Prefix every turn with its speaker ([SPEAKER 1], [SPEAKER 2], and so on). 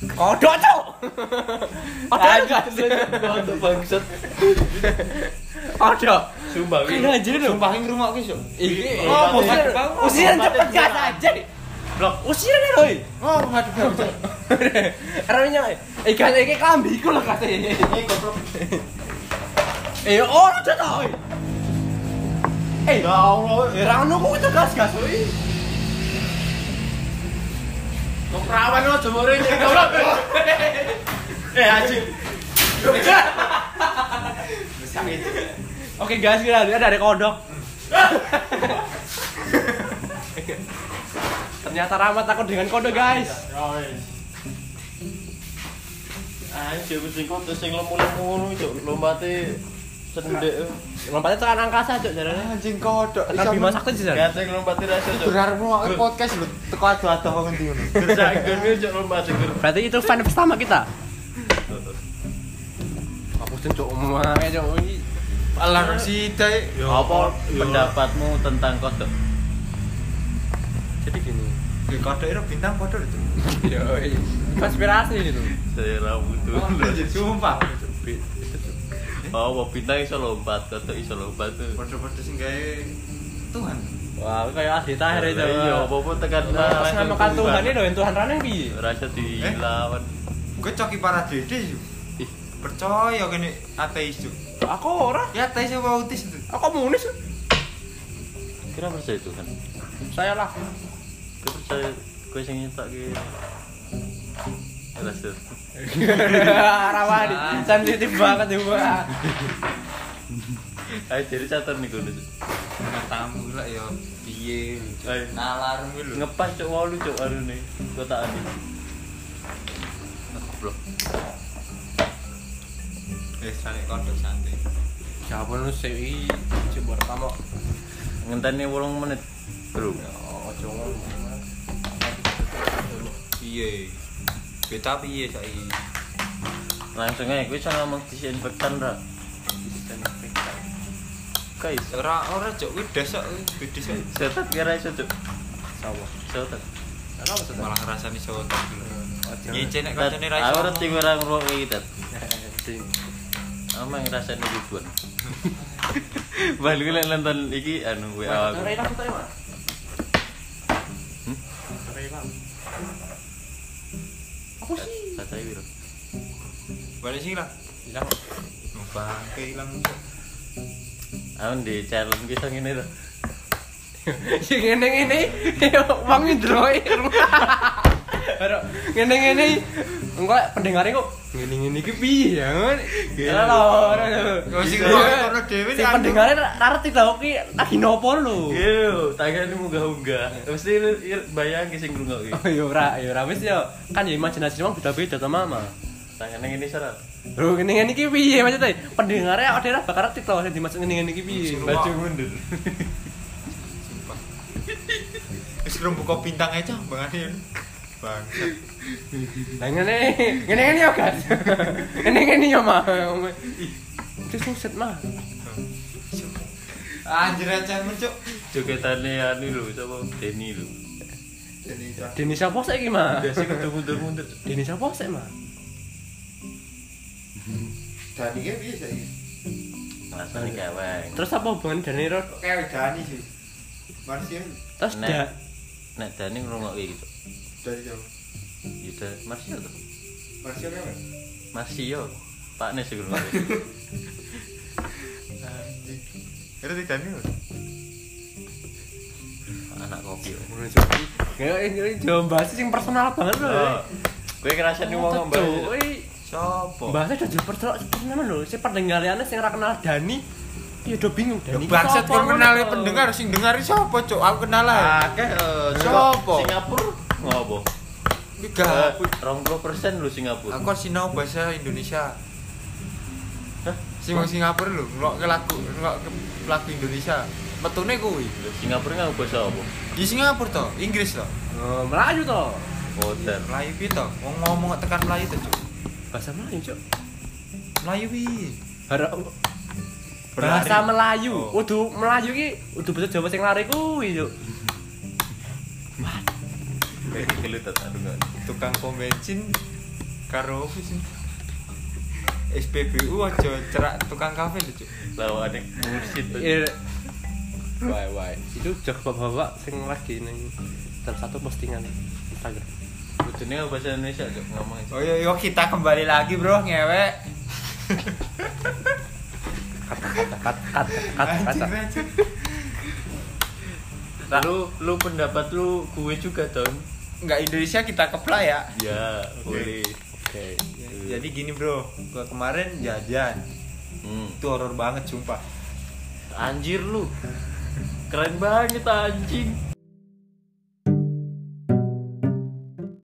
[SPEAKER 1] Kodok, Cuk. Kodok, Cuk.
[SPEAKER 2] Untuk bangsat.
[SPEAKER 1] Kodok.
[SPEAKER 2] Sumpah
[SPEAKER 1] Ini Iya, aja, Cuk.
[SPEAKER 3] Sumpahin rumah aku, Cuk.
[SPEAKER 1] Iki
[SPEAKER 2] Oh,
[SPEAKER 1] oh,
[SPEAKER 2] bosnya.
[SPEAKER 1] usiran cepet gas aja.
[SPEAKER 3] Blok.
[SPEAKER 1] Usiran ya, Roy.
[SPEAKER 3] Oh, aduh, Bang, Cuk.
[SPEAKER 1] Roynya. Eh, gas iki klambi iku lho kate.
[SPEAKER 3] Eh, goblok.
[SPEAKER 1] Eh, ora ta, Roy. Eh,
[SPEAKER 3] Ya Allah, eh.
[SPEAKER 1] ora ono kok itu gas-gas, Roy.
[SPEAKER 3] Kok perawan lo jemur ini, goblok. Eh, aji.
[SPEAKER 1] Oke, guys, kita lihat dari kodok. Ternyata ramah takut dengan kodok, guys.
[SPEAKER 3] Ya wis. Anjir, mesti kok terus sing lemu-lemu ngono, Cuk. Lompate sendek.
[SPEAKER 1] Lompatnya tekan angkasa, Cuk, jarane.
[SPEAKER 4] Anjing kodok.
[SPEAKER 1] Tekan
[SPEAKER 4] Iso
[SPEAKER 1] bima sakti sih, jarane.
[SPEAKER 3] Gak sing lompate ra iso, Cuk.
[SPEAKER 4] Durarmu aku podcast lho, teko adu-adu kok ngendi ngono.
[SPEAKER 3] Gersakan yo, Cuk, lompate ger.
[SPEAKER 1] Berarti itu fan pertama kita. Aku sih cok omongnya cok ini.
[SPEAKER 4] Alah sithik.
[SPEAKER 3] Ya Apa pendapatmu tentang kodok?
[SPEAKER 1] Jadi gini.
[SPEAKER 4] Ya kodok itu bintang kodok itu.
[SPEAKER 1] Yo, konspirasi itu.
[SPEAKER 3] Saya Eh, ra butuh.
[SPEAKER 4] Anjir, sumpah.
[SPEAKER 3] Oh, bintang iso lompat, kodok iso lompat tuh.
[SPEAKER 4] Podok-podok sing gawe Tuhan.
[SPEAKER 1] Wah, aku kayak ahli tahir itu. Nah,
[SPEAKER 3] Iya, apa-apa tekan
[SPEAKER 1] Pas namakan Tuhan
[SPEAKER 3] kan, iya.
[SPEAKER 1] ini doain Tuhan rane piye?
[SPEAKER 3] Rasa dilawan.
[SPEAKER 4] Gue coki paradede yo.
[SPEAKER 3] Ih.
[SPEAKER 4] Percaya kene ateis yo.
[SPEAKER 1] Aku ora.
[SPEAKER 4] Ya ateis apa autis itu?
[SPEAKER 1] Aku komunis.
[SPEAKER 3] Kira kan? percaya Tuhan.
[SPEAKER 1] Saya lah.
[SPEAKER 3] Kira percaya kowe sing nyetak ki. Rasa.
[SPEAKER 1] Rawani. Sensitif banget juga.
[SPEAKER 3] Ayo jadi catur nih kudu.
[SPEAKER 4] Tamu lah yo piye.
[SPEAKER 3] Ayo.
[SPEAKER 4] Nalar lho.
[SPEAKER 3] Ngepas cok walu cok aru nih. Kota ani. Goblok.
[SPEAKER 4] Wis sale Eh, kodok santai.
[SPEAKER 1] Siapa lu sih? Coba kamu.
[SPEAKER 3] Ngenteni 8 menit. Bro.
[SPEAKER 1] Ojo ngomong.
[SPEAKER 4] Piye? Beta piye saiki?
[SPEAKER 3] Langsung aja kowe iso ngomong disinfektan ra. Guys,
[SPEAKER 4] Ora ora cok kuwi desok kuwi beda sak.
[SPEAKER 3] setat kira iso cok.
[SPEAKER 1] Sawo.
[SPEAKER 3] Setat.
[SPEAKER 1] Kenapa maksudnya?
[SPEAKER 4] Malah ngrasani soto lho.
[SPEAKER 1] Ojo.
[SPEAKER 4] Nyicen nek
[SPEAKER 3] Tat,
[SPEAKER 4] kancane ra iso.
[SPEAKER 3] Aku ngerti kowe ra ngrungok iki, Tat.
[SPEAKER 1] Sing.
[SPEAKER 3] Amang rasane ribuan. Balik lek nonton iki anu WA aku.
[SPEAKER 1] Reina fotonya mana?
[SPEAKER 3] Hmm?
[SPEAKER 1] Reina. Apa sih?
[SPEAKER 3] Kacai piro?
[SPEAKER 4] Balik sing lah.
[SPEAKER 1] Hilang.
[SPEAKER 4] Bangke ilang.
[SPEAKER 3] Aku di challenge ki sing ngene to.
[SPEAKER 1] Sing ngene-ngene Ya, wong ndroe. Ora ngene-ngene engko lek pendengare kok ngene-ngene iki piye ya ngono. Ora lho, ora lho.
[SPEAKER 4] Kok sing
[SPEAKER 1] Iya.
[SPEAKER 4] ngono dhewe
[SPEAKER 1] Sing pendengare ra ra ngerti lho ki lagi nopo lho.
[SPEAKER 3] Yo, tangan munggah-munggah. Mesti lu- ir- bayang ki sing ngrungok ki.
[SPEAKER 1] Oh, Ya ora, ya ora wis ya. Kan ya imajinasi wong beda-beda ta mama.
[SPEAKER 3] Tangane ngene syarat.
[SPEAKER 1] Lho ngene-ngene iki piye maksudnya? Pendengare awake dhewe ra bakal ngerti lho sing dimaksud ngene-ngene iki piye.
[SPEAKER 3] Baju mundur.
[SPEAKER 4] Wis kerumbu kok bintang aja bangane. Bangsat.
[SPEAKER 1] Nah, ngene ngene ngene yo guys. Ngene ngene yo mah. Terus suset mah.
[SPEAKER 4] Anjir aja mencuk.
[SPEAKER 3] Jogetane anu lho, sapa? Deni lho.
[SPEAKER 1] Dene sapa saiki mah?
[SPEAKER 3] Biasa kudu mundur-mundur.
[SPEAKER 1] Dene sapa sik mah?
[SPEAKER 4] Dani ge piye saiki?
[SPEAKER 3] Rasane gawang.
[SPEAKER 1] Terus apa hubungan Dani Rod?
[SPEAKER 4] Kayak Dani sih. Marsien
[SPEAKER 1] Terus
[SPEAKER 3] Nek.
[SPEAKER 1] da
[SPEAKER 3] Nek Dani ngrungok ki gitu.
[SPEAKER 4] dari jauh.
[SPEAKER 3] Ya da, Marsio to.
[SPEAKER 4] Marsien kan.
[SPEAKER 3] Marsio. Pak Nes sing ngrungok. ki.
[SPEAKER 4] Anjing. Kira di Dani. lho.
[SPEAKER 3] Anak kopi. yo.
[SPEAKER 1] Kayak ini jom bahas sing personal banget
[SPEAKER 3] Oh.
[SPEAKER 4] Ah.
[SPEAKER 1] lho.
[SPEAKER 3] Kowe ngrasani wong
[SPEAKER 1] Wong
[SPEAKER 3] ngombe.
[SPEAKER 4] Sopo?
[SPEAKER 1] Bahasa udah jemper celok tenan lho. Si pendengariane sing ora kenal Dani ya udah bingung Dani. iki
[SPEAKER 4] Bangsat
[SPEAKER 1] sapa,
[SPEAKER 4] kan kenal
[SPEAKER 1] ngono.
[SPEAKER 4] pendengar sing dengari sopo cuk? Aku kenal lah.
[SPEAKER 3] Akeh eh,
[SPEAKER 4] Sopo?
[SPEAKER 3] Singapura ngopo? Eh,
[SPEAKER 4] Tiga.
[SPEAKER 3] Rong puluh persen lu Singapura.
[SPEAKER 4] Aku kan sinau bahasa Indonesia.
[SPEAKER 3] Hah?
[SPEAKER 4] Sing wong Singapura lho, ngelok ke lagu, ngelok ke lagu Indonesia. Metune kuwi.
[SPEAKER 3] Lu Singapura nggak bahasa apa?
[SPEAKER 4] Di Singapura to, Inggris to.
[SPEAKER 1] Oh, Melayu to.
[SPEAKER 3] Hotel.
[SPEAKER 4] Melayu piye to? Wong ngomong kok tekan Melayu to, Cuk.
[SPEAKER 1] Bahasa Melayu, Cuk.
[SPEAKER 4] Melayu piye?
[SPEAKER 1] Harap
[SPEAKER 4] Berlari.
[SPEAKER 1] bahasa Melayu.
[SPEAKER 4] Oh.
[SPEAKER 1] Udu Melayu ki udu bahasa Jawa sing lari kuwi, Cuk.
[SPEAKER 3] Kayak gelut tak aduh nggak.
[SPEAKER 4] tukang pom bensin karo opo sih? SPBU aja cerak tukang kafe lho, Cuk.
[SPEAKER 3] Lawan yang mursid.
[SPEAKER 1] Iya. Why why? Itu jok bapak-bapak sing lagi ning salah satu postingan Instagram.
[SPEAKER 3] Kudunya bahasa Indonesia cok ngomong aja.
[SPEAKER 4] Oh iya, iya kita kembali lagi, Bro, ngewek.
[SPEAKER 1] Kata kata kata kata.
[SPEAKER 4] Anjing, anjing.
[SPEAKER 3] Lu lu pendapat lu gue juga dong.
[SPEAKER 4] Nggak Indonesia kita keplak ya.
[SPEAKER 3] Ya boleh.
[SPEAKER 1] Oke.
[SPEAKER 4] Jadi gini, Bro. Gua kemarin jajan.
[SPEAKER 3] Hmm.
[SPEAKER 4] Itu horor banget, sumpah.
[SPEAKER 3] Anjir lu. Keren banget anjing.